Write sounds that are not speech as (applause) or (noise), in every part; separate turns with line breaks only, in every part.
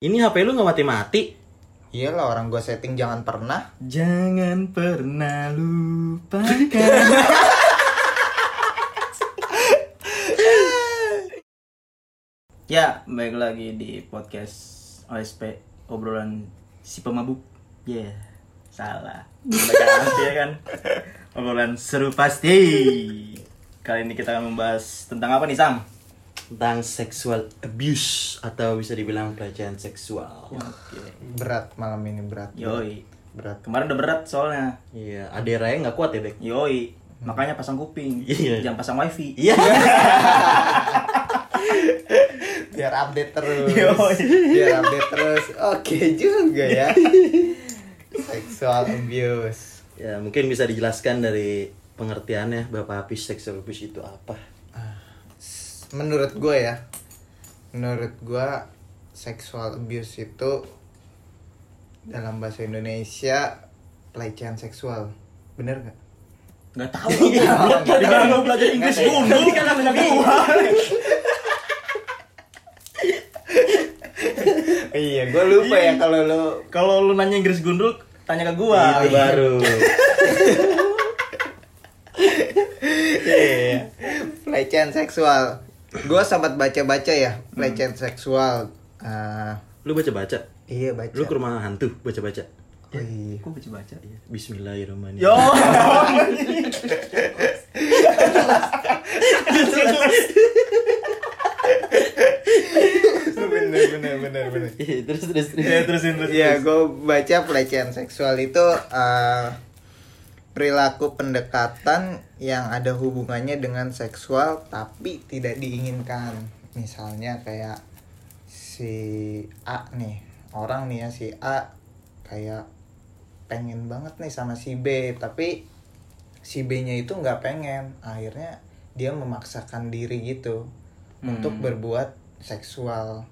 Ini HP lu nggak mati-mati.
Iyalah orang gue setting jangan pernah.
Jangan pernah lupakan. (laughs) ya, baik lagi di podcast OSP obrolan si pemabuk. Ya, salah. Bacaan pasti ya kan. Obrolan seru pasti. Kali ini kita akan membahas tentang apa nih Sam?
tentang sexual abuse atau bisa dibilang pelecehan seksual.
Oke.
Berat malam ini berat.
Yoi.
Berat.
Kemarin udah berat soalnya.
Iya, adera yang nggak kuat ya, Bek.
Yoi, makanya pasang kuping.
Iya.
Jangan pasang wifi.
Iya.
Biar update terus.
Yoi.
Biar update terus. Oke juga ya. Sexual abuse.
ya, mungkin bisa dijelaskan dari pengertiannya Bapak abuse sexual abuse itu apa?
Ah, Menurut gue ya. Menurut gue sexual abuse itu dalam bahasa Indonesia pelecehan seksual. Bener gak?
Gak tau Tadi kan lo belajar Inggris
Nggak
dulu Tadi kan belajar gua
iya, gue lupa ya kalau lo
Kalau lu nanya Inggris gundul Tanya ke gua
itu
iya. (laughs)
baru.
Iya, pelecehan seksual. Gue sempat baca-baca ya pelecehan seksual. Ah,
Lu baca-baca.
iya baca.
Lu ke rumah hantu baca-baca.
Oh, iya.
Gua baca-baca ya
Bismillahirrahmanirrahim.
Yo
(laughs) bener bener bener bener
Iya, terus terus terus.
Ya terusin terusin
ya gue baca pelecehan seksual itu eh, perilaku pendekatan yang ada hubungannya dengan seksual tapi tidak diinginkan misalnya kayak si A nih orang nih ya si A kayak pengen banget nih sama si B tapi si B-nya itu nggak pengen akhirnya dia memaksakan diri gitu untuk
Hmm.
berbuat seksual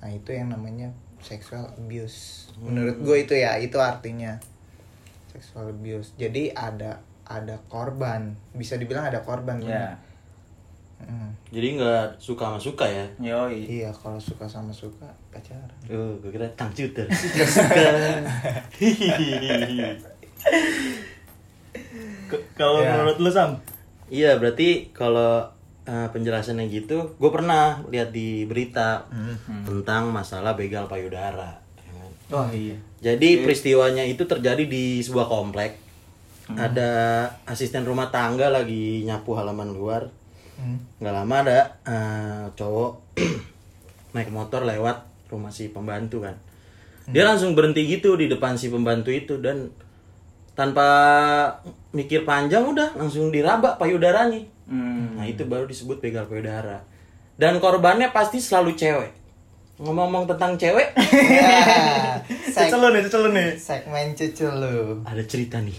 nah itu yang namanya sexual abuse
Hmm.
menurut gue itu ya itu artinya sexual abuse jadi ada ada korban bisa dibilang ada korban
Ya
bener. Mm.
Jadi nggak suka sama suka ya.
Yoi
iya kalau suka sama suka pacaran
Oh, gue kira tangcuter. Nggak suka. (laughs)
Ke- Kalau
Ya.
menurut lu Sam
Iya berarti kalau eh, penjelasannya gitu, gue pernah lihat di berita tentang masalah begal payudara. ya kan.
Oh
(laughs)
iya
Jadi peristiwanya itu terjadi di sebuah komplek. Ada asisten rumah tangga lagi nyapu halaman luar. Nggak lama ada eh, cowok (clears throat) naik motor lewat rumah si pembantu kan. Dia langsung berhenti gitu di depan si pembantu itu dan tanpa mikir panjang udah langsung diraba payudaranya.
Hmm.
Nah itu baru disebut begal payudara. Dan korbannya pasti selalu cewek. Ngomong-ngomong tentang cewek,
Ya, seg-
Cecel lu nih, cecel lu nih
segmen cucu lu
ada cerita nih.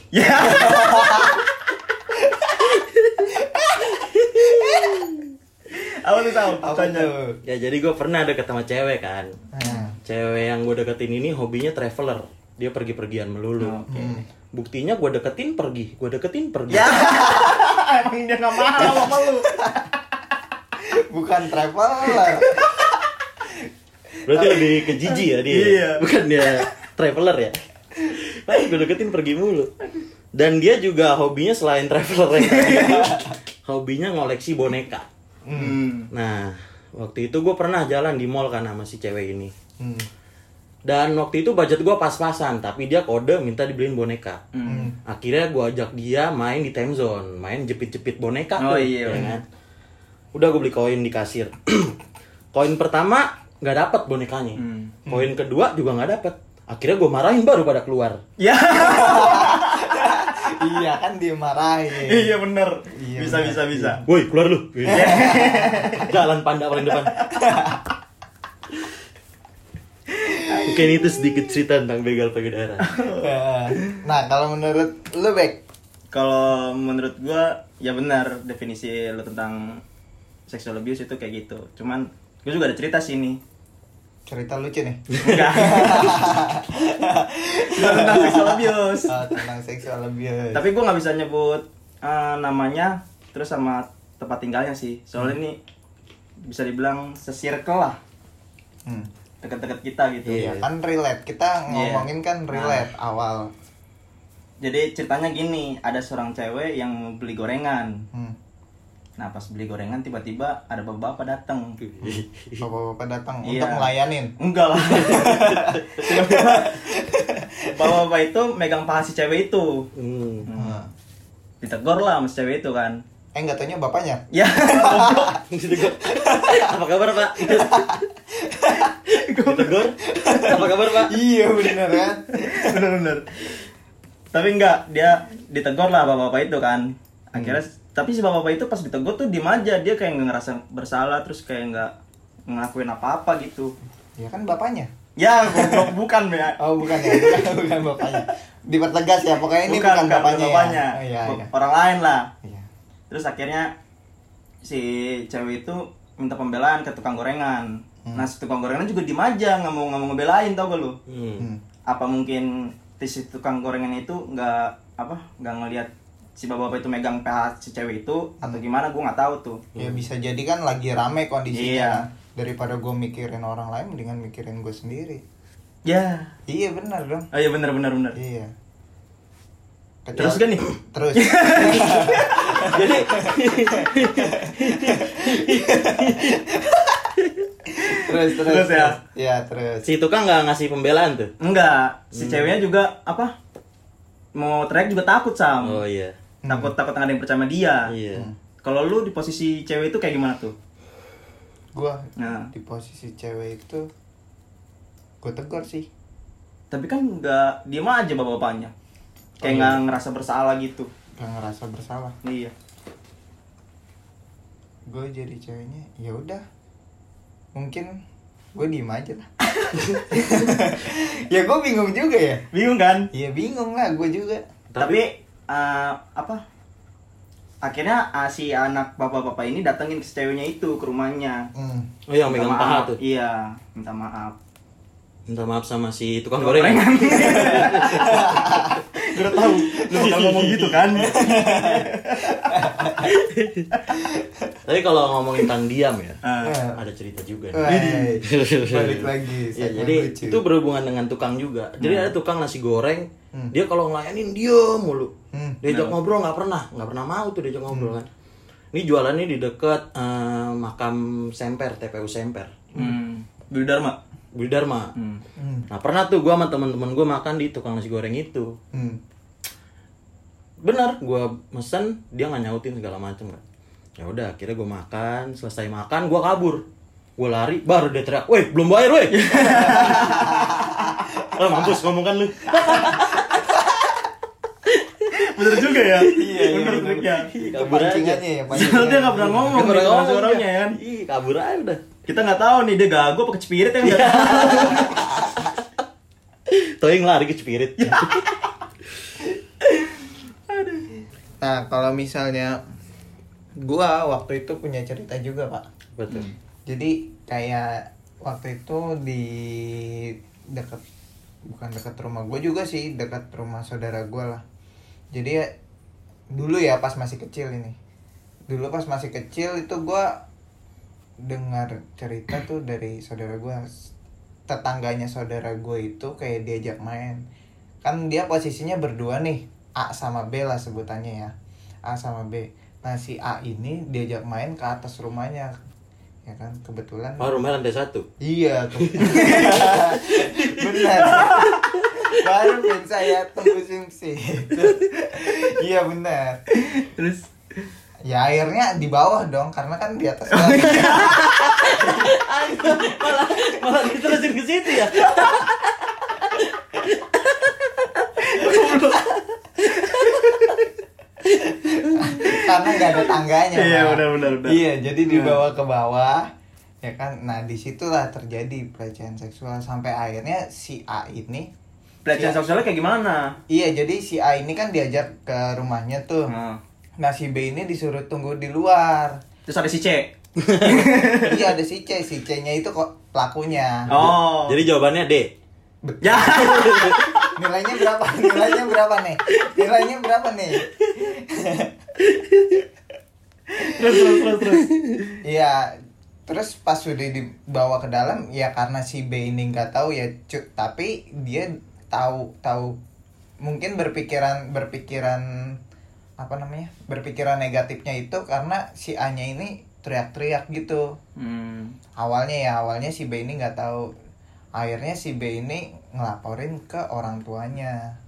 Apa tuh (laughs) Sam?
apa
Tanya
tuh
Ya jadi gue pernah deket sama cewek kan.
Nah,
Cewek yang gue deketin ini hobinya traveler. Dia pergi-pergian melulu.
Oh, Oke
Buktinya gue deketin pergi, gue deketin pergi.
Ya. Emang dia gak mahal sama lu
bukan traveler
Berarti lebih ke jijik ya dia.
Iya.
Bukan dia traveler ya. Tapi gue deketin pergi mulu. Dan dia juga hobinya selain traveler
(laughs)
ya. hobinya ngoleksi boneka.
Hmm
Nah, waktu itu gue pernah jalan di mall kan sama si cewek ini.
Hmm.
Dan waktu itu budget gue pas-pasan, tapi dia kode minta dibeliin boneka.
Hmm.
Akhirnya gue ajak dia main di time zone, main jepit-jepit boneka
Oh
tuh,
iya,
ya
bener.
kan? Udah gue beli koin di kasir. (clears throat) koin pertama nggak dapat bonekanya.
Hmm.
Koin kedua juga nggak dapat. Akhirnya gue marahin baru pada keluar.
(laughs) Ya
iya kan dimarahin
Iya bener
Iya,
Bisa
bener.
bisa bisa
Woi, keluar
(laughs)
lu. Iya. Jalan panda paling depan. Mungkin itu sedikit cerita tentang begal payudara.
nah kalau menurut lu Bek
kalau menurut gua ya benar definisi lo tentang sexual abuse itu kayak gitu cuman gue juga ada cerita sih nih
cerita lucu nih
enggak Nggak tentang sexual abuse
Ah, tentang seksual abuse
tapi gua nggak bisa nyebut eh, namanya terus sama tempat tinggalnya sih soalnya ini bisa dibilang sesirkel lah
Hmm.
deket-deket kita gitu
Iya.
kan relate kita ngomongin kan relate awal
jadi ceritanya gini ada seorang cewek yang mau beli gorengan
hmm.
nah pas beli gorengan tiba-tiba ada bapak-bapak datang
bapak-bapak datang
Iya.
untuk ngelayanin
enggak lah Tiba-tiba (laughs) bapak-bapak itu megang paha si cewek itu
Hmm.
Hmm.
ditegur lah sama si cewek itu kan
(laughs) eh nggak taunya bapaknya
ya
Ditegur. (laughs) Apa kabar, Pak? Gitu, Ditegur. Apa kabar, Pak?
iya bener kan
bener-bener tapi enggak dia ditegur lah bapak-bapak itu kan
Hmm.
akhirnya tapi si bapak-bapak itu pas ditegur tuh diem aja dia kayak nggak ngerasa bersalah terus kayak nggak ngelakuin apa-apa gitu
ya kan bapaknya
ya goblok, bukan ya
oh bukan ya bukan, bukan bapaknya dipertegas ya pokoknya ini bukan, bapaknya,
bapaknya.
ya. Oh, iya,
Bu-
iya.
orang lain lah
Iya.
terus akhirnya si cewek itu minta pembelaan ke tukang gorengan nah si tukang gorengan juga diem aja nggak mau nggak mau ngebelain tau gak lu
Hmm.
Hmm.
apa mungkin si tukang gorengan itu nggak apa nggak ngelihat si bapak itu megang PH si cewek itu atau gimana gue nggak tahu tuh
ya bisa jadi kan lagi rame kondisinya
Hmm. Iya.
daripada gue mikirin orang lain mendingan mikirin gue sendiri
ya
iya bener dong
oh iya bener bener bener
iya Kecuali-
terus kan nih
terus
(laughs)
Jadi
terus terus
(laughs) Terus ya?
ya terus
si tukang nggak ngasih pembelaan tuh.
enggak si ceweknya juga apa mau teriak juga takut sam
Oh iya.
Hmm.
takut takut ada yang percaya sama dia
Iya.
kalau lu di posisi cewek itu kayak gimana tuh
gue
Nah.
di posisi cewek itu gue tegur sih
tapi kan nggak diem aja bapak bapaknya kayak nggak ngerasa bersalah gitu
gak ngerasa bersalah
iya
gue jadi ceweknya ya udah mungkin gue diem aja lah (laughs) ya gue bingung juga ya
bingung kan
ya bingung lah gue juga
tapi, eh, apa akhirnya eh, si anak bapak-bapak ini datengin ke si ceweknya itu ke rumahnya
hmm.
Oh iya, megang
maaf
paha tuh.
iya minta maaf
Minta maaf sama si tukang gorengan.
(laughs) udah tahu lu bakal ngomong gitu (laughs) kan
Tapi kalau ngomongin tentang diam ya,
Eh,
Eh,
ada cerita juga. nih.
Wih, balik lagi
Ya,
segmen
jadi
Iya, lucu.
itu berhubungan dengan tukang juga. Jadi ada tukang nasi goreng,
Hmm.
dia kalau ngelayanin diem mulu.
Hmm.
Diajak ngobrol nggak pernah, nggak pernah mau tuh diajak ngobrol kan. Ini jualannya di dekat eh, makam Semper, TPU Semper,
hmm Budi Dharma
Budi Dharma.
hmm.
hmm.
Nah pernah tuh gua sama teman-teman gua makan di tukang nasi goreng itu.
Hmm.
Benar, gua mesen dia nggak nyautin segala macem kan. Ya udah, akhirnya gua makan, selesai makan gua kabur. Gue lari, baru dia teriak, weh belum bayar
(laughs)
weh Lah mampus ngomong kan lu
bener juga ya (laughs) iya bener
iya,
triknya
Itu
Kabur aja.
pancingannya ya
Soalnya dia
pancingannya.
nggak pernah ngomong
Dia pernah ngomong
orangnya
dia.
kan
Ih, kabur aja udah.
kita nggak tahu nih dia gago apa kecepirit ya nggak tahu.
Toing lari ke Cipirit.
nah kalau misalnya gua waktu itu punya cerita juga pak
Betul.
jadi kayak waktu itu di dekat bukan dekat rumah gue juga sih dekat rumah saudara gue lah jadi ya, dulu ya pas masih kecil ini dulu pas masih kecil itu gue dengar cerita tuh dari saudara gue tetangganya saudara gue itu kayak diajak main kan dia posisinya berdua nih A sama B lah sebutannya ya A sama B nah si A ini diajak main ke atas rumahnya ya kan kebetulan
Oh, rumah lantai satu.
(laughs) Iya tuh. benar. Baru pin saya tembusin sih. iya benar.
terus
Ya akhirnya di bawah dong karena kan di atas. banget.
malah malah diterusin ke situ ya.
karena nggak ada tangganya.
Iya,
Pak.
benar, benar, benar.
Iya jadi dibawa ke bawah ya kan. Nah disitulah terjadi pelecehan seksual sampai akhirnya si A ini
(laughs) pelecehan
Iya.
seksualnya kayak gimana
Iya jadi si A ini kan diajak ke rumahnya tuh.
Nah,
Nah si B ini disuruh tunggu di luar.
terus ada si C
iya ada si C, si C-nya itu kok pelakunya.
oh
Jadi jawabannya D.
ya
Nilainya berapa? (laughs) Nilainya berapa nih? Nilainya berapa nih?
terus terus terus terus
Iya, Terus pas udah dibawa ke dalam ya karena si B ini nggak tahu ya cu- tapi dia tahu tahu mungkin berpikiran berpikiran apa namanya berpikiran negatifnya itu karena si A nya ini teriak-teriak gitu
Hmm.
awalnya ya awalnya si B ini nggak tahu akhirnya si B ini ngelaporin ke orang tuanya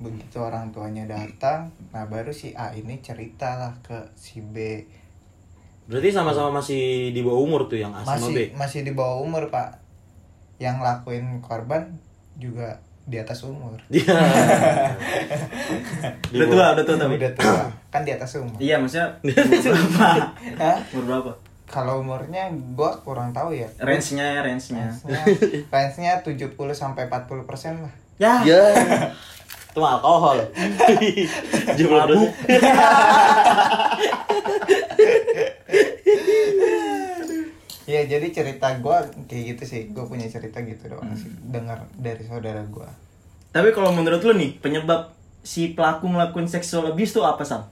begitu orang tuanya datang nah baru si A ini ceritalah ke si B
Berarti sama-sama masih di bawah umur tuh yang
Ah,
A sama B.
masih masih di bawah umur pak yang lakuin korban juga di atas umur
Iya. Di
Udah tua,
bawah-
udah tua tapi.
udah tua (coughs) kan di atas umur
Iya, maksudnya umur berapa?
Hah?
Umur berapa?
kalau umurnya gua kurang tahu ya
Range-nya ya, range-nya.
fansnya 70 sampai 40 persen lah
Ya,
Ya. Itu mah alkohol. Jumlah dosis.
Iya jadi cerita gua kayak gitu sih Gua punya cerita gitu doang sih dengar dari saudara gua
Tapi kalau menurut lu nih, penyebab si pelaku melakukan seksual abuse itu apa, Sam?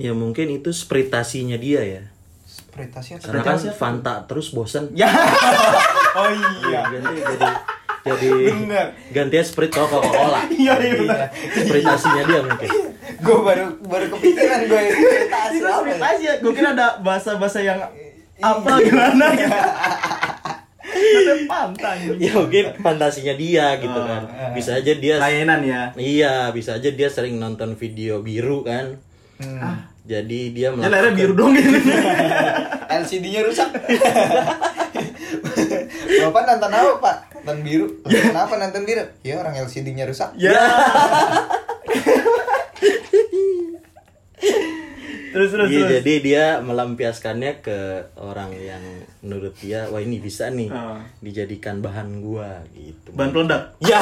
Ya mungkin itu spiritasinya dia ya.
Spritasi atau
Karena kan Fanta terus bosen.
Ya.
Oh
Ganti jadi jadi
Bener.
gantinya Sprite sama Coca-Cola.
Iya, iya benar.
Spiritasinya dia mungkin.
Gua baru baru kepikiran gua ini spritasi
Itu
apa ya?
spritasi ya. Gue kira ada bahasa-bahasa yang apa gimana gitu. Ada pantang.
Ya mungkin fantasinya dia gitu
Oh, eh.
kan. Bisa aja dia
Layanan ya.
Iya, bisa aja dia sering nonton video biru kan.
Hmm.
Jadi dia
Ya layarnya
melakukan
biru dong gitu.
LCD-nya rusak. Bapak nonton apa, Pak? Nonton biru. Lah, Kenapa nonton biru? Ya orang LCD-nya rusak.
Ya. terus terus
Iya,
terus.
jadi dia melampiaskannya ke orang yang menurut dia, wah ini bisa nih
Ah.
dijadikan bahan gua gitu.
Bahan peledak.
ya,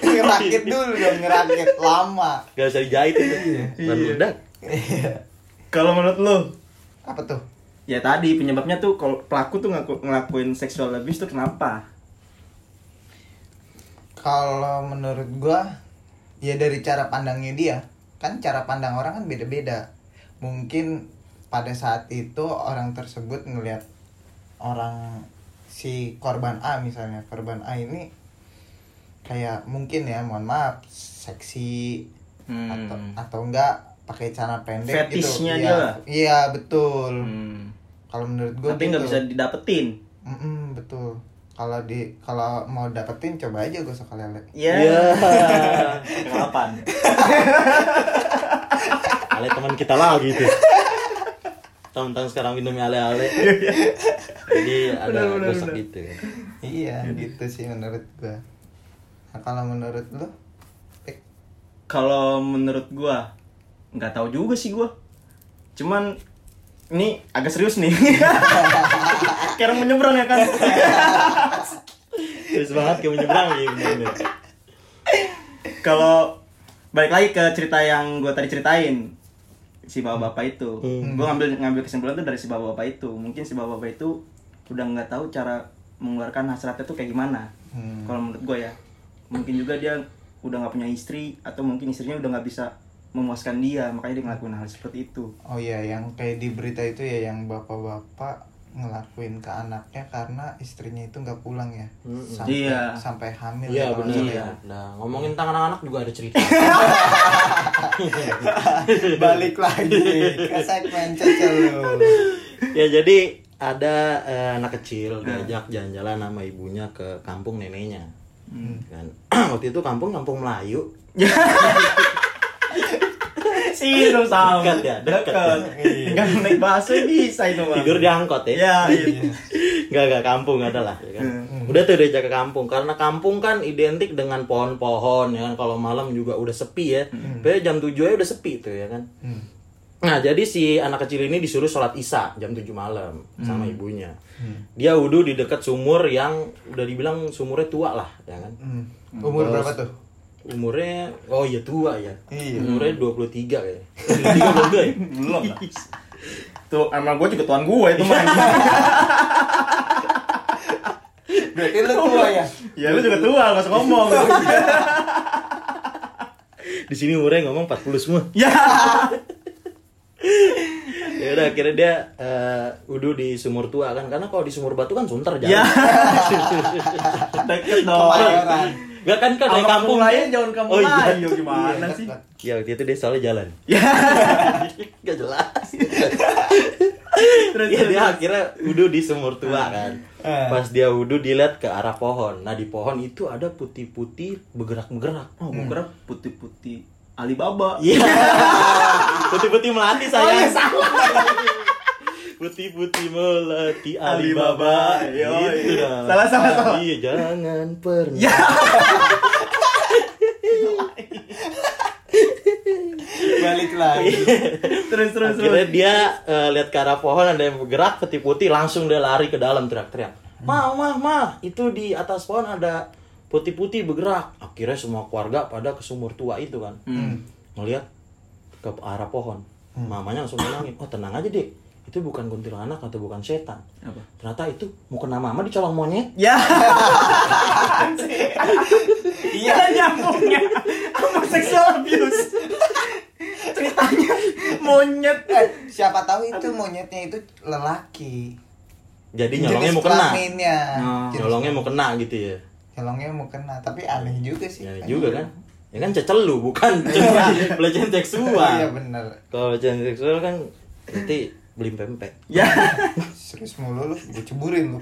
ngerakit dulu dong, ngerakit lama. Iya.
gak usah dijahit itu. Bahan
Iya.
meledak.
Kalau menurut lu
Apa tuh?
ya tadi penyebabnya tuh kalau pelaku tuh ngaku, ngelakuin seksual abuse tuh kenapa?
Kalau menurut gua ya dari cara pandangnya dia. Kan cara pandang orang kan beda-beda. Mungkin pada saat itu orang tersebut ngelihat orang si korban A misalnya, korban A ini kayak mungkin ya, mohon maaf, seksi
Hmm.
atau atau enggak pakai celana pendek
Fetishnya dia
gitu. Iya,
lah.
iya, betul.
Hmm.
Kalau menurut gua
Tapi nggak
gitu.
bisa didapetin.
Mm-mm, betul. Kalau di kalau mau dapetin coba aja gosok lele.
Ya.
Iya.
Kapan?
Ale teman kita lagi itu. Tentang sekarang minumnya ale-ale. Jadi
Iya.
ada
Benar, benar,
gosok
benar.
gitu. kan.
Iya, gitu sih menurut gua. Nah, kalau menurut lu? Pik.
Kalau menurut gua nggak tahu juga sih gua. Cuman ini agak serius nih. (laughs) Kayak orang menyeberang ya kan.
Terus banget kayak menyeberang gitu. bener.
Kalau balik lagi ke cerita yang gua tadi ceritain si bapak-bapak itu.
Hmm.
Gua ngambil ngambil kesimpulan tuh dari si bapak-bapak itu. Mungkin si bapak-bapak itu udah nggak tahu cara mengeluarkan hasratnya tuh kayak gimana.
Hmm.
Kalau menurut gua ya. Mungkin juga dia udah nggak punya istri atau mungkin istrinya udah nggak bisa memuaskan dia, makanya dia ngelakuin hal seperti
(laughs)
itu.
Oh iya, yang kayak di berita itu ya yang bapak-bapak ngelakuin ke anaknya karena istrinya itu nggak pulang ya. Sampai
Iya.
sampai hamil.
Iya
ya, kalau nggak
benar.
salah ya.
Nah, ngomongin tangan anak juga ada cerita.
Balik lagi ke segmen cecel lu.
(laughs) ya jadi ada eh, anak kecil diajak jalan-jalan sama ibunya ke kampung neneknya kan (clears throat) waktu itu kampung kampung Melayu
sih dong sama
Dekat ya, dekat ya.
tinggal naik bahasa bisa itu bang
tidur di angkot ya
ya iya
nggak nggak kampung ada lah ya kan? udah tuh diajak ke kampung karena kampung kan identik dengan pohon-pohon ya kan kalau malam juga udah sepi ya Pokoknya jam 7 aja udah sepi tuh ya kan
Hmm.
Nah, jadi si anak kecil ini disuruh sholat isya jam 7 malam sama
Hmm.
ibunya. Dia wudhu di dekat sumur yang udah dibilang sumurnya tua lah, ya kan?
Hmm. Umur
Terus-
berapa tuh?
Umurnya, oh iya tua ya.
Hmm.
Iya.
Umurnya 23 (laughs) kayaknya. 23 belum tua ya?
belum lah tuh emang gue juga tuan gue itu (laughs) mah
Berarti lu tua ya?
ya lu juga tua nggak usah ngomong
Di sini umurnya ngomong 40 semua.
ya
Ya ya udah akhirnya dia eh, udu di sumur tua kan karena kalau di sumur batu kan sunter
Ya.
jalan
Deket dong.
Kemayoran.
Gak kan kan
Kalau
dari
kampung
kampung
lain
dia.
jangan kampung
Oh iya.
lain gimana sih?
Iya,
Ya waktu itu dia soalnya jalan. (laughs)
Ya.
Gak jelas.
(laughs) Terus
ya,
terus. Ah.
dia akhirnya wudhu di sumur tua kan. Pas dia wudhu dilihat ke arah pohon. Nah di pohon itu ada putih-putih bergerak-bergerak.
Oh, gue kira putih-putih Alibaba.
Iya. (laughs) Putih-putih
Oh,
melati saya.
iya,
(laughs) Putih-putih melati Alibaba.
Alibaba, yoi.
Gitu dah.
Salah, salah, salah.
Iya jangan pernah.
Ya.
Balik lagi.
Terus terus
Akhirnya
terus.
dia eh, lihat ke arah pohon ada yang bergerak putih-putih langsung dia lari ke dalam teriak-teriak. Ma, ma, ma, itu di atas pohon ada putih-putih bergerak. Akhirnya semua keluarga pada ke sumur tua itu kan. Melihat ke arah pohon. Mamanya langsung bilangin, "Oh, tenang aja, Dek. Itu bukan kuntilanak atau bukan setan."
Apa?
Ternyata itu mau kena mama dicolong monyet.
Ya. (laughs) Iya nyambungnya sama sexual abuse. Ceritanya monyet.
Eh, siapa tahu itu monyetnya itu lelaki.
Jadi nyolongnya mau kena.
kelaminnya.
Nah,
Jenis-
Nyolongnya mau kena gitu ya.
nyolongnya mau kena, tapi aneh juga sih.
Ya juga kan. Ya kan cecelu bukan cuma pelecehan seksual.
Iya bener
Kalau pelecehan seksual kan nanti beli pempek.
Ya.
Serius mulu lu, gue ceburin lu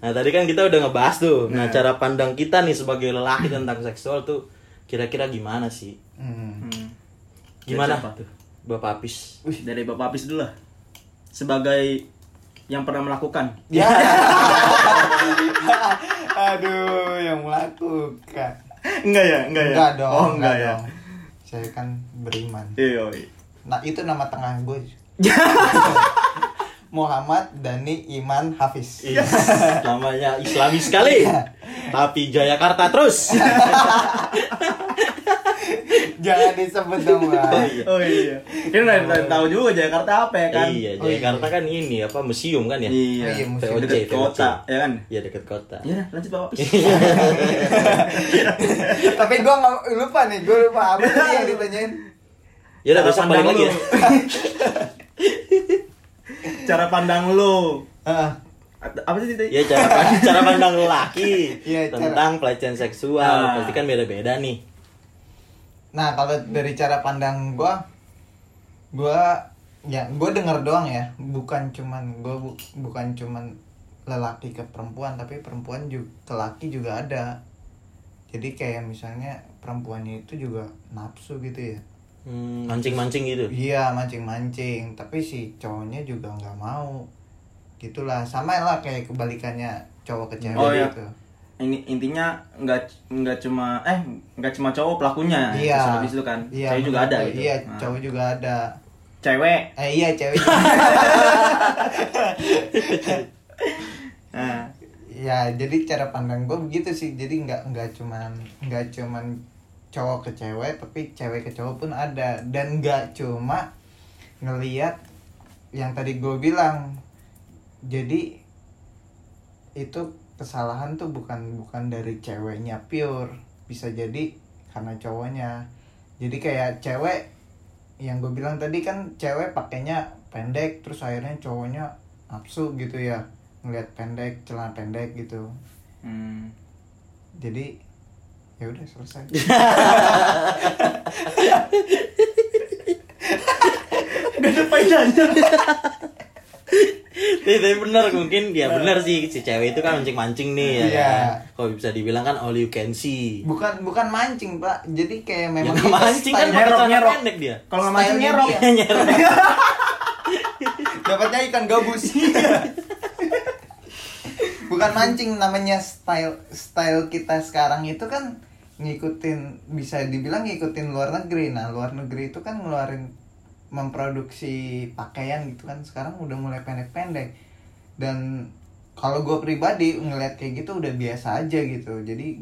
Nah tadi kan kita udah ngebahas tuh. Nah cara pandang kita nih sebagai lelaki tentang seksual tuh kira-kira gimana sih?
hmm.
Dari
Gimana?
siapa tuh?
Bapak Apis.
Dari Bapak Apis dulu lah. Sebagai yang pernah melakukan.
Ya (laughs) Aduh, yang melakukan
Enggak ya, enggak ya.
Enggak dong,
Oh, enggak, ya.
dong. Saya kan beriman
Iya.
Nah itu nama tengah gue Muhammad Dani Iman Hafiz
Is, namanya islami sekali.
Iya.
Tapi Jayakarta terus.
Jangan disebut dong
Oh,
Bang.
iya.
Oh iya. Kita udah udah tahu juga Jakarta apa ya kan?
iya,
Oh, iya.
Jayakarta kan ini apa museum kan ya?
Iya.
Oh, iya, musim
TOC,
Dekat
TOC.
kota, ya kan?
Iya dekat kota.
Ya, lanjut Bapak Apis.
Tapi gue lupa nih, gue lupa apa tadi yang ditanyain
Ya udah
Cara
besok balik
pandang
lagi ya.
lu. Cara pandang lu.
Heeh.
At- Apa sih tadi?
Ya cara pandang, cara pandang lelaki
Iya, cara-
tentang pelecehan seksual
Nah.
pasti kan beda-beda nih.
Nah kalau dari cara pandang gua gua ya gua denger doang ya, bukan cuman gua bu- bukan cuman lelaki ke perempuan, tapi perempuan juga ke laki juga ada. Jadi kayak misalnya perempuannya itu juga nafsu gitu ya.
Hmm, mancing-mancing gitu.
Iya mancing-mancing, tapi si cowoknya juga nggak mau. Gitulah sama lah kayak kebalikannya cowok ke cewek
Oh, iya.
gitu.
Ini intinya nggak nggak cuma eh nggak cuma cowok pelakunya.
Iya.
Nah, Habis itu kan.
Iya,
cewek juga
menurut
ada
gua,
gitu.
Iya,
Nah,
cowok juga ada.
Cewek.
Eh iya cewek.
(laughs)
juga.
Nah,
ya jadi cara pandang gue begitu sih jadi nggak nggak cuman nggak cuman cowok ke cewek tapi cewek ke cowok pun ada dan nggak cuma ngeliat yang tadi gue bilang jadi itu kesalahan tuh bukan bukan dari ceweknya pure bisa jadi karena cowoknya jadi kayak cewek yang gue bilang tadi kan cewek pakainya pendek terus akhirnya cowoknya nafsu gitu ya ngeliat pendek celana pendek gitu
hmm.
jadi ya udah selesai
(laughs)
Gak ada faedahnya.
Tapi tapi bener mungkin ya bener sih si cewek itu kan mancing-mancing nih ya.
Iya.
kan? Kalau bisa dibilang kan all you can see.
bukan bukan mancing pak jadi kayak
Yang
memang itu
mancing kan
style- gitu.
pakai celana
nyerok.
pendek dia. (laughs)
Kalau nggak mancing
Style
nyerok.
dia.
Nyerok.
dapatnya ikan gabus bukan mancing namanya style style kita sekarang itu kan ngikutin bisa dibilang ngikutin luar negeri nah luar negeri itu kan ngeluarin memproduksi pakaian gitu kan sekarang udah mulai pendek-pendek dan kalau gue pribadi ngeliat kayak gitu udah biasa aja gitu jadi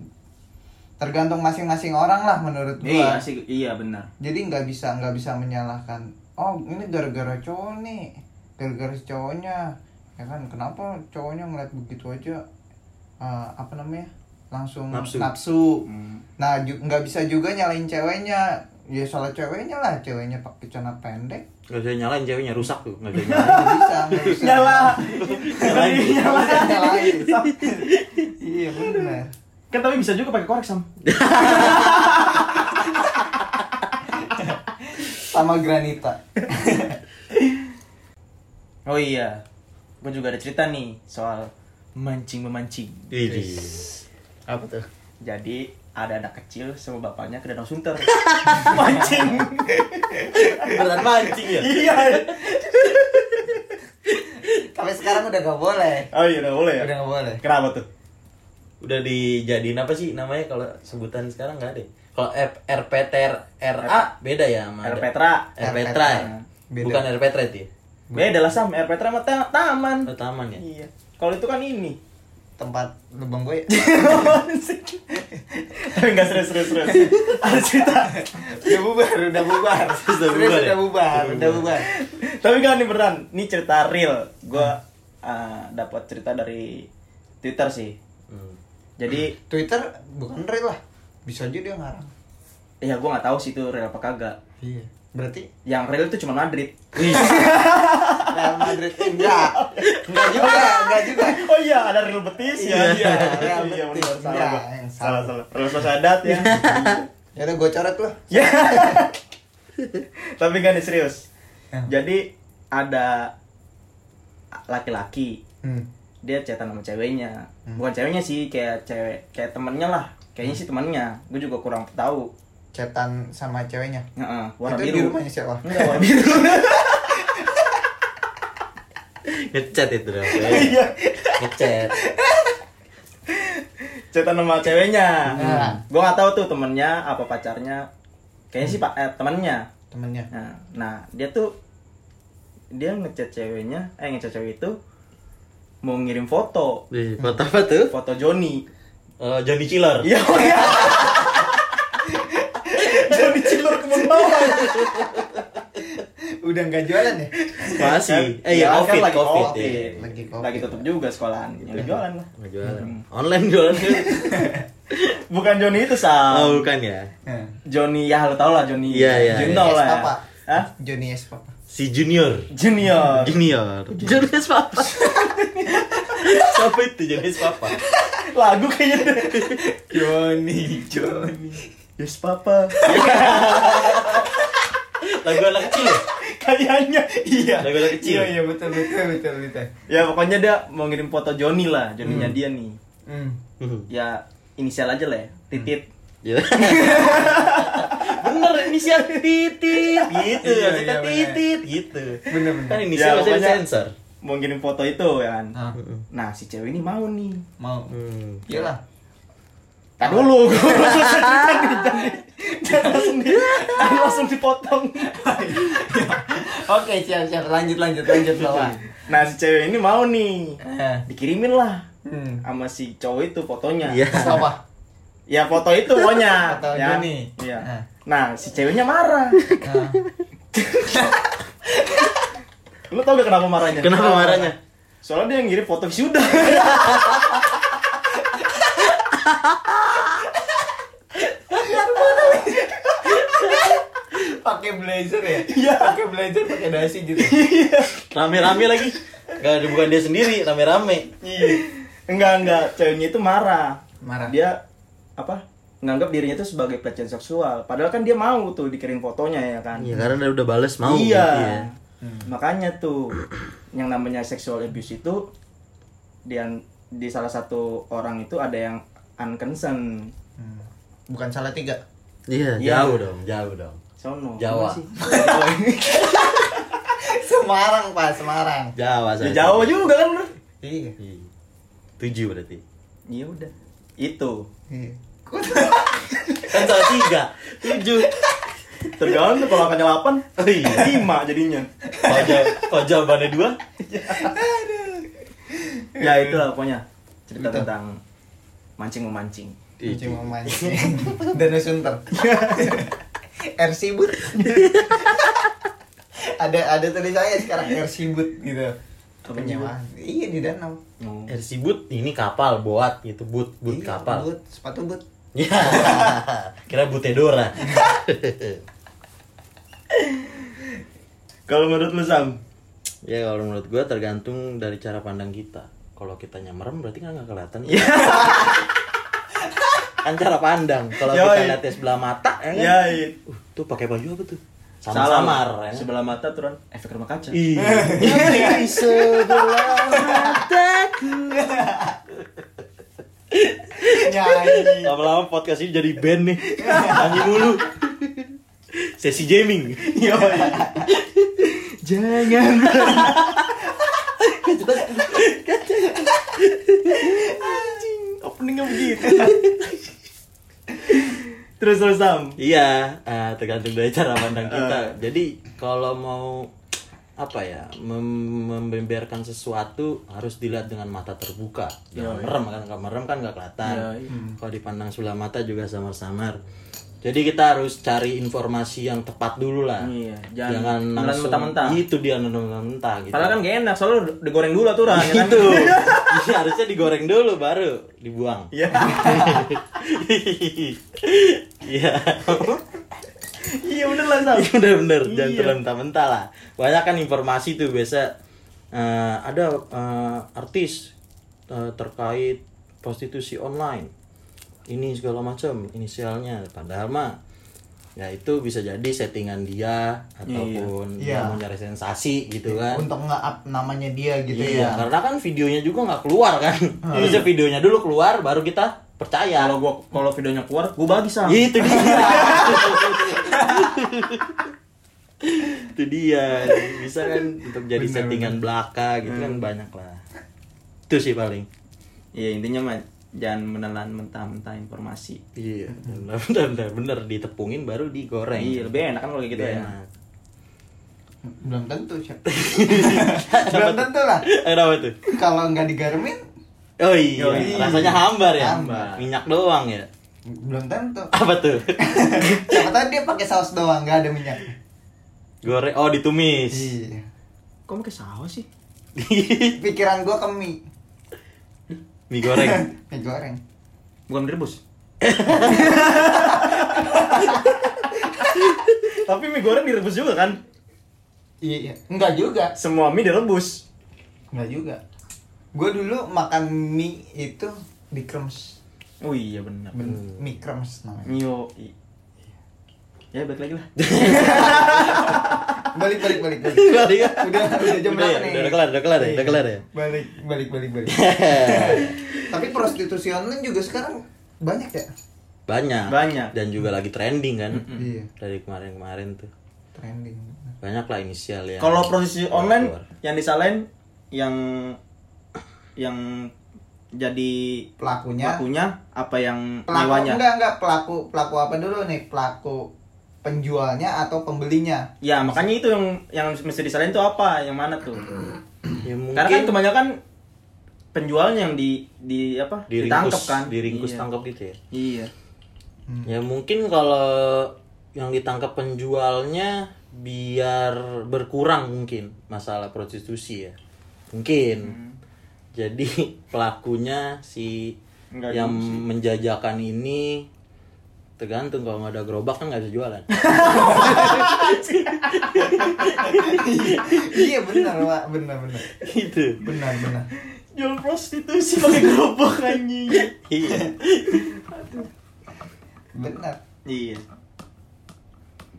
tergantung masing-masing orang lah menurut gue
Iya sih, iya benar.
jadi nggak bisa nggak bisa menyalahkan oh ini gara-gara cowok nih gara-gara si cowoknya ya kan kenapa cowoknya ngeliat begitu aja eh, apa namanya langsung
Nafsu.
Hmm. nah ju- nggak bisa juga nyalain ceweknya ya salah ceweknya lah ceweknya pakai celana pendek
Gak bisa nyalain ceweknya rusak tuh, gak bisa
nggak (laughs) bisa
nyalain.
nggak bisa
nyala
Nyalain.
nyala
nyalain iya benar
kan tapi bisa juga pakai korek sam
sama (laughs) granita
oh iya gue juga ada cerita nih soal mancing memancing
Ini.
apa tuh
jadi ada anak kecil sama bapaknya ke danau sunter (laughs) mancing
Beneran mancing ya?
iya
tapi sekarang udah gak boleh
oh iya udah boleh ya
udah gak boleh
kenapa tuh
Udah dijadiin apa sih namanya kalau sebutan sekarang gak ada ya? Kalau F- RPTR RA beda ya sama
air petra
R Petra ya?
Beda.
Bukan R Petra itu ya?
beda lah sam air petra sama ta- taman
Oh, taman ya?
iya kalau itu kan (laughs) ini
tempat lubang gue
tapi nggak serius serius serius ada cerita
udah bubar udah (laughs) bubar
Udah
Serius,
bubar ya?
udah bubar
Udah
udah bubar
tapi kan ini beneran ini cerita real gue Hmm. dapat cerita dari twitter sih
Hmm.
jadi
Twitter bukan real lah bisa aja dia ngarang
ya gue nggak tahu sih itu real apa kagak
iya berarti
yang real itu cuma Madrid
Real (laughs) Madrid enggak enggak juga enggak juga
(laughs) oh iya ada real betis ya
Iya,
iya
Real
iya benar
Betis.
salah
Iya,
gua.
yang
salah
salah.
salah real Sociedad ya
ya udah gue coret lah
(laughs) ya tapi kan ini serius
Eh,
jadi ada laki-laki
hmm.
dia chatan sama ceweknya bukan ceweknya sih kayak cewek kayak temennya lah kayaknya sih temennya gue juga kurang tahu
cetan sama ceweknya
Heeh, warna
itu
biru
di rumahnya siapa (laughs)
enggak warna biru (laughs)
Ngecat itu dong.
iya
Ngecat.
chatan sama ceweknya
Nah.
gue nggak tahu tuh temennya apa pacarnya kayaknya sih pak eh, temennya
temennya
nah, nah dia tuh dia ngechat ceweknya eh ngechat cewek itu mau ngirim foto
Di foto apa tuh?
foto
(laughs)
Joni
Eh, Johnny Chiller.
iya oh iya Joni cilur kemana
udah nggak jualan ya
Masih. Eh (laughs)
Jualan
iya, Covid,
Kan? lagi
Covid.
COVID.
ya.
Lagi COVID.
lagi tutup juga sekolahan yang jualan (laughs) lah
Nggak Jualan. Online jualan kan?
bukan Joni itu sam
Oh, bukan ya.
Nah,
Joni ya lo tau lah Joni
Iya, iya,
Jun
iya.
tau lah
Es
ya.
Papa.
Hah?
Johnny S (laughs) Papa.
Si Junior.
Junior
Junior. Junior Papa. Siapa itu Junior Papa?
lagu
(laughs)
kayaknya Joni Joni yes papa (laughs)
Lagu anak kecil. ya?
kayaknya iya
Lagu anak kecil.
Iya iya betul betul betul betul.
ya pokoknya dia mau ngirim foto Joni lah Joninya dia nih
Hmm.
Hmm.
ya inisial aja lah ya. titit
Ya. (laughs) Bener inisial titit gitu,
Iya, Hmm.
maksudnya
iya, bener.
titit gitu.
Bener
Kan
bener.
Ya,
inisial masih
pokoknya-
sensor.
mau ngirim foto itu ya kan
Nah,
nah si cewek ini mau nih
mau.
Hmm.
Iyalah.
tak (laughs)
Ah.
dulu gue belum selesai cerita nih, jangan jangan langsung di (laughs) jangan langsung dipotong (laughs)
Oke siap siap lanjut lanjut lanjut bawa.
nah si cewek ini mau nih
Eh.
dikirimin lah
Hmm.
sama si cowok itu fotonya
Iya.
Terus apa?
ya foto itu pokoknya
Foto
ya.
Joni.
Iya.
Nah.
nah si ceweknya marah lu
Nah,
tau gak kenapa marahnya
Kenapa marahnya?
soalnya dia ngirim foto sudah (laughs)
pakai blazer ya?
Iya.
Pakai blazer pakai dasi gitu.
Rame-rame lagi. Gak ada bukan dia sendiri, rame-rame.
enggak enggak ceweknya itu marah
Marah.
dia apa nganggap dirinya itu sebagai pelecehan seksual padahal kan dia mau tuh dikirim fotonya ya kan
Iya, karena dia udah bales mau.
iya
gitu ya.
makanya tuh yang namanya sexual abuse itu di, an- di salah satu orang itu ada yang unconcerned
Hmm. Bukan salah tiga.
Iya,
Iya.
jauh dong, jauh dong.
sono Apa
Jawa.
sih?
Semarang pak Semarang.
ya
Jawa saya.
(laughs) Jawa juga kan bener
Iya.
Iya. Tujuh berarti.
ya udah itu
Iya.
Kan salah tiga. Tujuh. Kan
tergantung kalau angkanya 8
(laughs) Oh
5
iya.
jadinya
Kalau jaw- kalau jawabannya dua,
ya itulah pokoknya cerita tentang mancing memancing
Cuma mancing. Danau Sunter. (laughs) Air Sibut. ada ada tulisannya sekarang Air Sibut gitu.
Apa
Penyewaan. Iya di danau.
Oh.
RC boot eh, ini kapal boat gitu, boot boot
Iya,
kapal. (laughs)
Boot, sepatu boot.
Ya. Kira butedora.
Kalau menurut lu Sam,
ya kalau menurut gue tergantung dari cara pandang kita kalau kitanya merem berarti kan nggak kelihatan (laughs) kan cara pandang kalau kita
Yoi.
lihatnya sebelah mata ya kan?
ya i-
Uh, tuh pakai baju apa tuh sama
salah.
samar ya kan?
Sebelah mata turun efek rumah kaca.
iya Di sebelah mataku
Nyanyi.
lama-lama podcast ini jadi band nih nyanyi mulu sesi jamming jangan
Openingnya begitu. terus terus Sam.
Iya, eh, tergantung dari cara
(laughs)
pandang
Eh.
kita. Jadi kalau mau apa ya mem- membeberkan sesuatu harus dilihat dengan mata terbuka jangan merem kan kalau merem kan nggak kelihatan
Yoi.
kalau dipandang sebelah mata juga samar-samar jadi kita harus cari informasi yang tepat dulu lah
Iya, jangan
jangan
nelan
langsung
mentah-mentah.
itu dia nelan mentah gitu
Padahal kan gak enak, soalnya udah digoreng dulu tuh
(laughs)
kan.
itu Iya, harusnya digoreng dulu baru dibuang
Iya.
(laughs)
(laughs)
iya
Iya bener lah Sam.
(laughs) Iya bener-bener, jangan
Iya.
terlalu mentah-mentah lah Banyak kan informasi tuh biasa eh, Ada eh, artis eh, terkait prostitusi online Ini segala macam inisialnya Padahal mah Ya itu bisa jadi settingan dia Ataupun dia
Iya.
mau nyari sensasi gitu kan
Untuk nge-up namanya dia gitu
Iya,
ya. Ah.
karena kan videonya juga nggak keluar kan Harusnya videonya dulu keluar baru kita percaya
Kalau gua kalau videonya keluar, gua bagi Sam.
Iya, itu dia itu dia bisa kan untuk jadi settingan belaka gitu kan banyak lah itu sih paling
Iya intinya mah jangan menelan mentah-mentah informasi.
iya bener bener, bener bener ditepungin baru digoreng
Iya lebih enak kan kalau kayak gitu ya.
Enak. (laughs)
Belum tentu, Syah. Belum tentu lah.
Eh, kenapa tuh
Kalau nggak digarmin,
oh iya
Yoi.
rasanya hambar ya
Hambar.
minyak doang ya
belum tentu.
apa tuh
Siapa tahu dia pakai saus doang, nggak ada minyak.
goreng oh ditumis
Iya.
Kok pakai saus sih?
Pikiran gua ke mie.
(laughs) mie goreng
(laughs) Mie goreng.
Bukan direbus. Tapi mie goreng direbus juga kan?
Iya, enggak juga.
Semua mie direbus.
Enggak juga. Gue dulu makan mie itu di kremes.
Oh iya benar.
Ben-
Hmm.
Mie kremes namanya.
Mio. i- Ya balik (laughs) lagi lah.
Balik balik balik balik.
Balik ya?
Udah udah jam
Udah ya?
berapa nih?
Udah- udah kelar, udah kelar ya? Udah
Iya.
kelar ya?
Balik balik balik balik. Tapi prostitusi online juga sekarang banyak ya?
banyak
Banyak.
dan juga lagi trending kan
Iya,
dari kemarin-kemarin tuh
trending.
banyak lah inisial ya
Kalau prosesi online yang disalahin yang yang jadi
Pelakunya
pelakunya apa yang
pelaku
nyewanya?
enggak enggak pelaku pelaku apa dulu nih pelaku penjualnya atau pembelinya (laughs)
Ya makanya itu yang yang mesti disalahin tuh apa? Yang mana tuh?
ya mungkin
Karena kan kebanyakan penjualnya yang di di apa? ditangkap
diringkus
kan?
diringkus
Iya.
tangkap gitu ya
Iya.
ya mungkin kalau yang ditangkap penjualnya biar berkurang mungkin masalah prostitusi ya mungkin jadi pelakunya si
Enggak
yang menjajakan ini tergantung kalau nggak ada gerobak kan nggak bisa jualan
iya benar pak benar benar
gitu
benar benar
Jual prostitusi pakai gerobak anjing.
iya
benar
iya.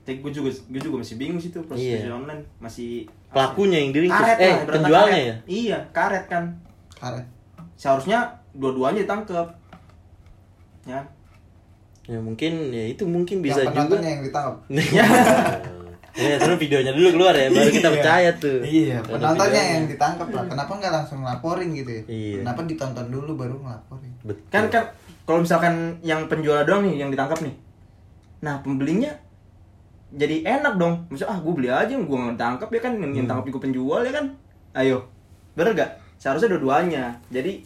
Tapi gue juga gue juga masih bingung sih tuh prostitusi
Iya.
online masih
pelakunya yang diringkus
karet lah,
eh
ibaratnya
penjualnya
karet.
ya
Iya, karet kan.
karet
Seharusnya dua-duanya ditangkap. Ya.
ya mungkin ya itu mungkin
bisa
bisa
yang
juga
penontonnya yang ditangkap
ya terus Iya, videonya dulu keluar ya baru kita
Iya.
percaya tuh
iya
Ada
penontonnya
videonya.
yang ditangkap lah kenapa nggak langsung ngelaporin gitu ya
Iya.
kenapa ditonton dulu baru ngelaporin
Betul.
Kan kan kalau misalkan yang penjual doang nih yang ditangkap nih. Nah, pembelinya jadi enak dong. Misal ah gue beli aja, gue nggak tangkap ya kan, yang, yang
Hmm.
tangkap juga penjual ya kan. Ayo, bener gak? Seharusnya dua-duanya. Jadi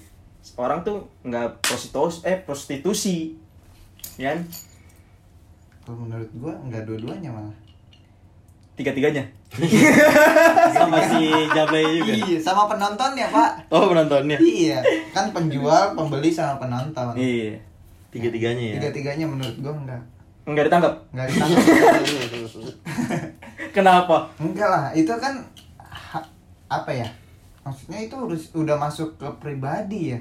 orang tuh nggak prostitusi, eh prostitusi, ya kan?
kalau menurut gua nggak dua-duanya malah
Tiga-tiganya.
sama si Jablay juga
iya sama penontonnya pak
oh penontonnya
iya kan penjual pembeli sama penonton
Iya.
tiga-tiganya ya
tiga-tiganya menurut gua nggak
Nggak ditangkap.
nggak ditangkap
(laughs) Kenapa?
Enggak lah, itu kan ha- apa ya? Maksudnya itu urus- udah masuk ke pribadi ya.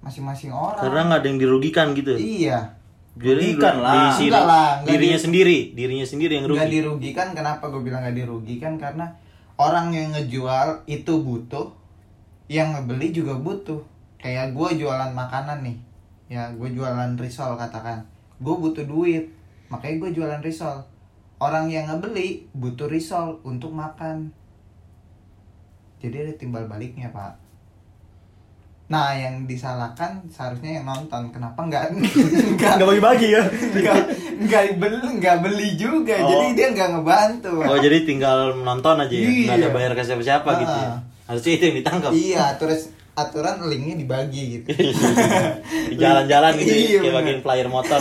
Masing-masing orang.
Karena nggak ada yang dirugikan gitu.
iya.
Jadi
Rugikan lah.
diisi-
Enggak lah, enggak
dirinya
di-
sendiri, dirinya sendiri yang rugi.
Nggak dirugikan kenapa gue bilang nggak dirugikan karena orang yang ngejual itu butuh, yang ngebeli juga butuh. Kayak gue jualan makanan nih. Ya, gue jualan risol katakan. Gue butuh duit. Makanya gue jualan risol. Orang yang ngebeli butuh risol untuk makan. Jadi ada timbal baliknya, Pak. Nah, yang disalahkan seharusnya yang nonton. Kenapa nggak (laughs) nggak
Nggak bagi-bagi ya?
nggak nggak beli nggak beli juga
Oh.
jadi dia nggak ngebantu
Oh jadi tinggal menonton aja ya, nggak ada
Iya.
bayar ke siapa-siapa gitu. Ya.
Ah.
Harusnya itu yang ditangkap.
iya terus aturan linknya dibagi gitu
(laughs) Di jalan-jalan gitu,
Iya,
ya, kayak
bener.
bagian flyer
(laughs)
motor.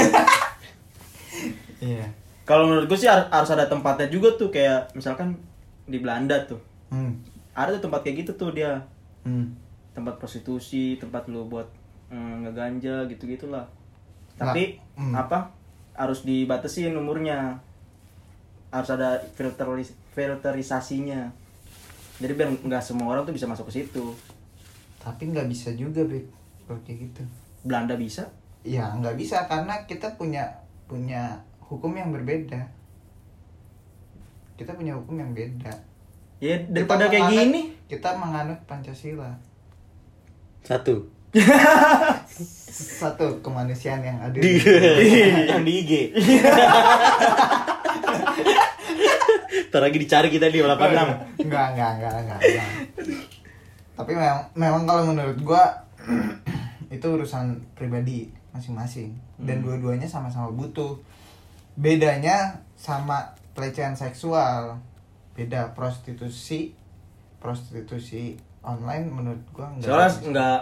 iya
Kalau menurut gue sih har- harus ada tempatnya juga tuh kayak misalkan di Belanda tuh.
hmm.
Ada tuh tempat kayak gitu tuh dia.
Hmm.
Tempat prostitusi, tempat lu buat mm, ngeganja gitu-gitulah. Tapi
Nah, hmm.
apa? Harus dibatasin umurnya. Harus ada filteris filterisasinya. Jadi biar nggak semua orang tuh bisa masuk ke situ.
tapi nggak bisa juga Beb, kalau kayak gitu
Belanda bisa.
ya nggak bisa karena kita punya punya hukum yang berbeda kita punya hukum yang beda
Ya
Kita
daripada kayak
menganut-
gini.
kita menganut pancasila
Satu.
satu kemanusiaan yang adil
Di yang di IG. (laughs) Ntar lagi dicari kita di 86
Enggak, enggak, enggak, enggak. enggak. Tapi memang memang kalau menurut gua (clears throat) itu urusan pribadi masing-masing
Hmm.
dan dua-duanya sama-sama butuh. Bedanya sama pelecehan seksual. Beda prostitusi prostitusi online menurut gua enggak.
Soalnya nggak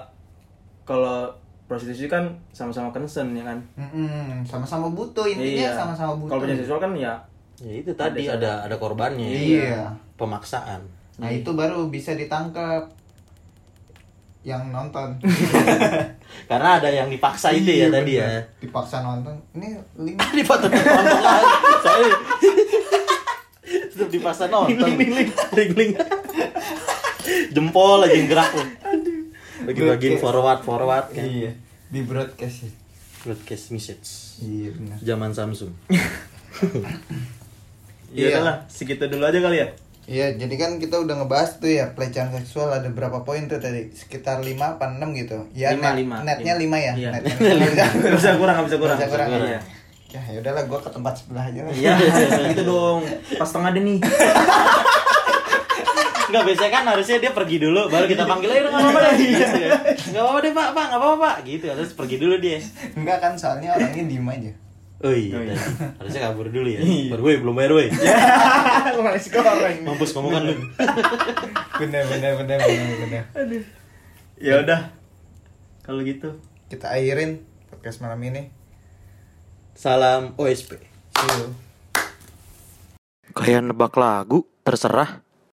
kalau prostitusi kan sama-sama concern ya kan.
Mm-mm, sama-sama butuh intinya sama-sama
Iya,
butuh.
Kalau punya seksual kan ya
Ya itu tadi ada ada korbannya. ya.
Iya.
Pemaksaan.
Nah, itu baru bisa ditangkap yang
(laughs)
nonton.
Karena ada yang dipaksa itu
Iya,
ya tadi ya. (laughs)
bener. dipaksa nonton ini link
Dipaksa nonton kan. Saya tetap dipaksa nonton. Ling ling. (laughs) Jempol lagi gerak loh. Lagi bagiin forward forward kan.
iya di broadcast ya
Broadcast message.
iya benar
Zaman Samsung.
ya
Iya.
udahlah, segitu dulu aja kali ya.
iya jadi kan kita udah ngebahas tuh ya pelecehan seksual ada berapa poin tuh tadi sekitar 5 apa 6 gitu ya
Lima,
net-
lima,
netnya
lima.
5 ya
Iya. (laughs)
netnya lima.
Nggak bisa kurang, nggak bisa kurang.
Nggak bisa kurang.
Iya.
ya yaudahlah gua ke tempat sebelah aja lah
(laughs) Iya, gitu dong. Pas tengah deh nih.
Enggak biasanya kan harusnya dia pergi dulu baru kita panggil aja enggak apa-apa deh. Gitu ya. Enggak apa-apa deh Pak, Pak, enggak apa-apa Pak. Gitu harus pergi dulu dia.
(laughs) enggak kan soalnya orangnya diem
(laughs)
aja
Oh iya,
Oh iya.
harusnya kabur dulu ya.
Iya.
Baru weh, belum bayar weh.
aku masih goreng
Mampus kamu
(laughs)
kan lu.
bener bener bener bener bener
Ya udah. Kalau gitu.
kita akhirin podcast malam ini
Salam OSP.
see you
Kayak nebak lagu, terserah.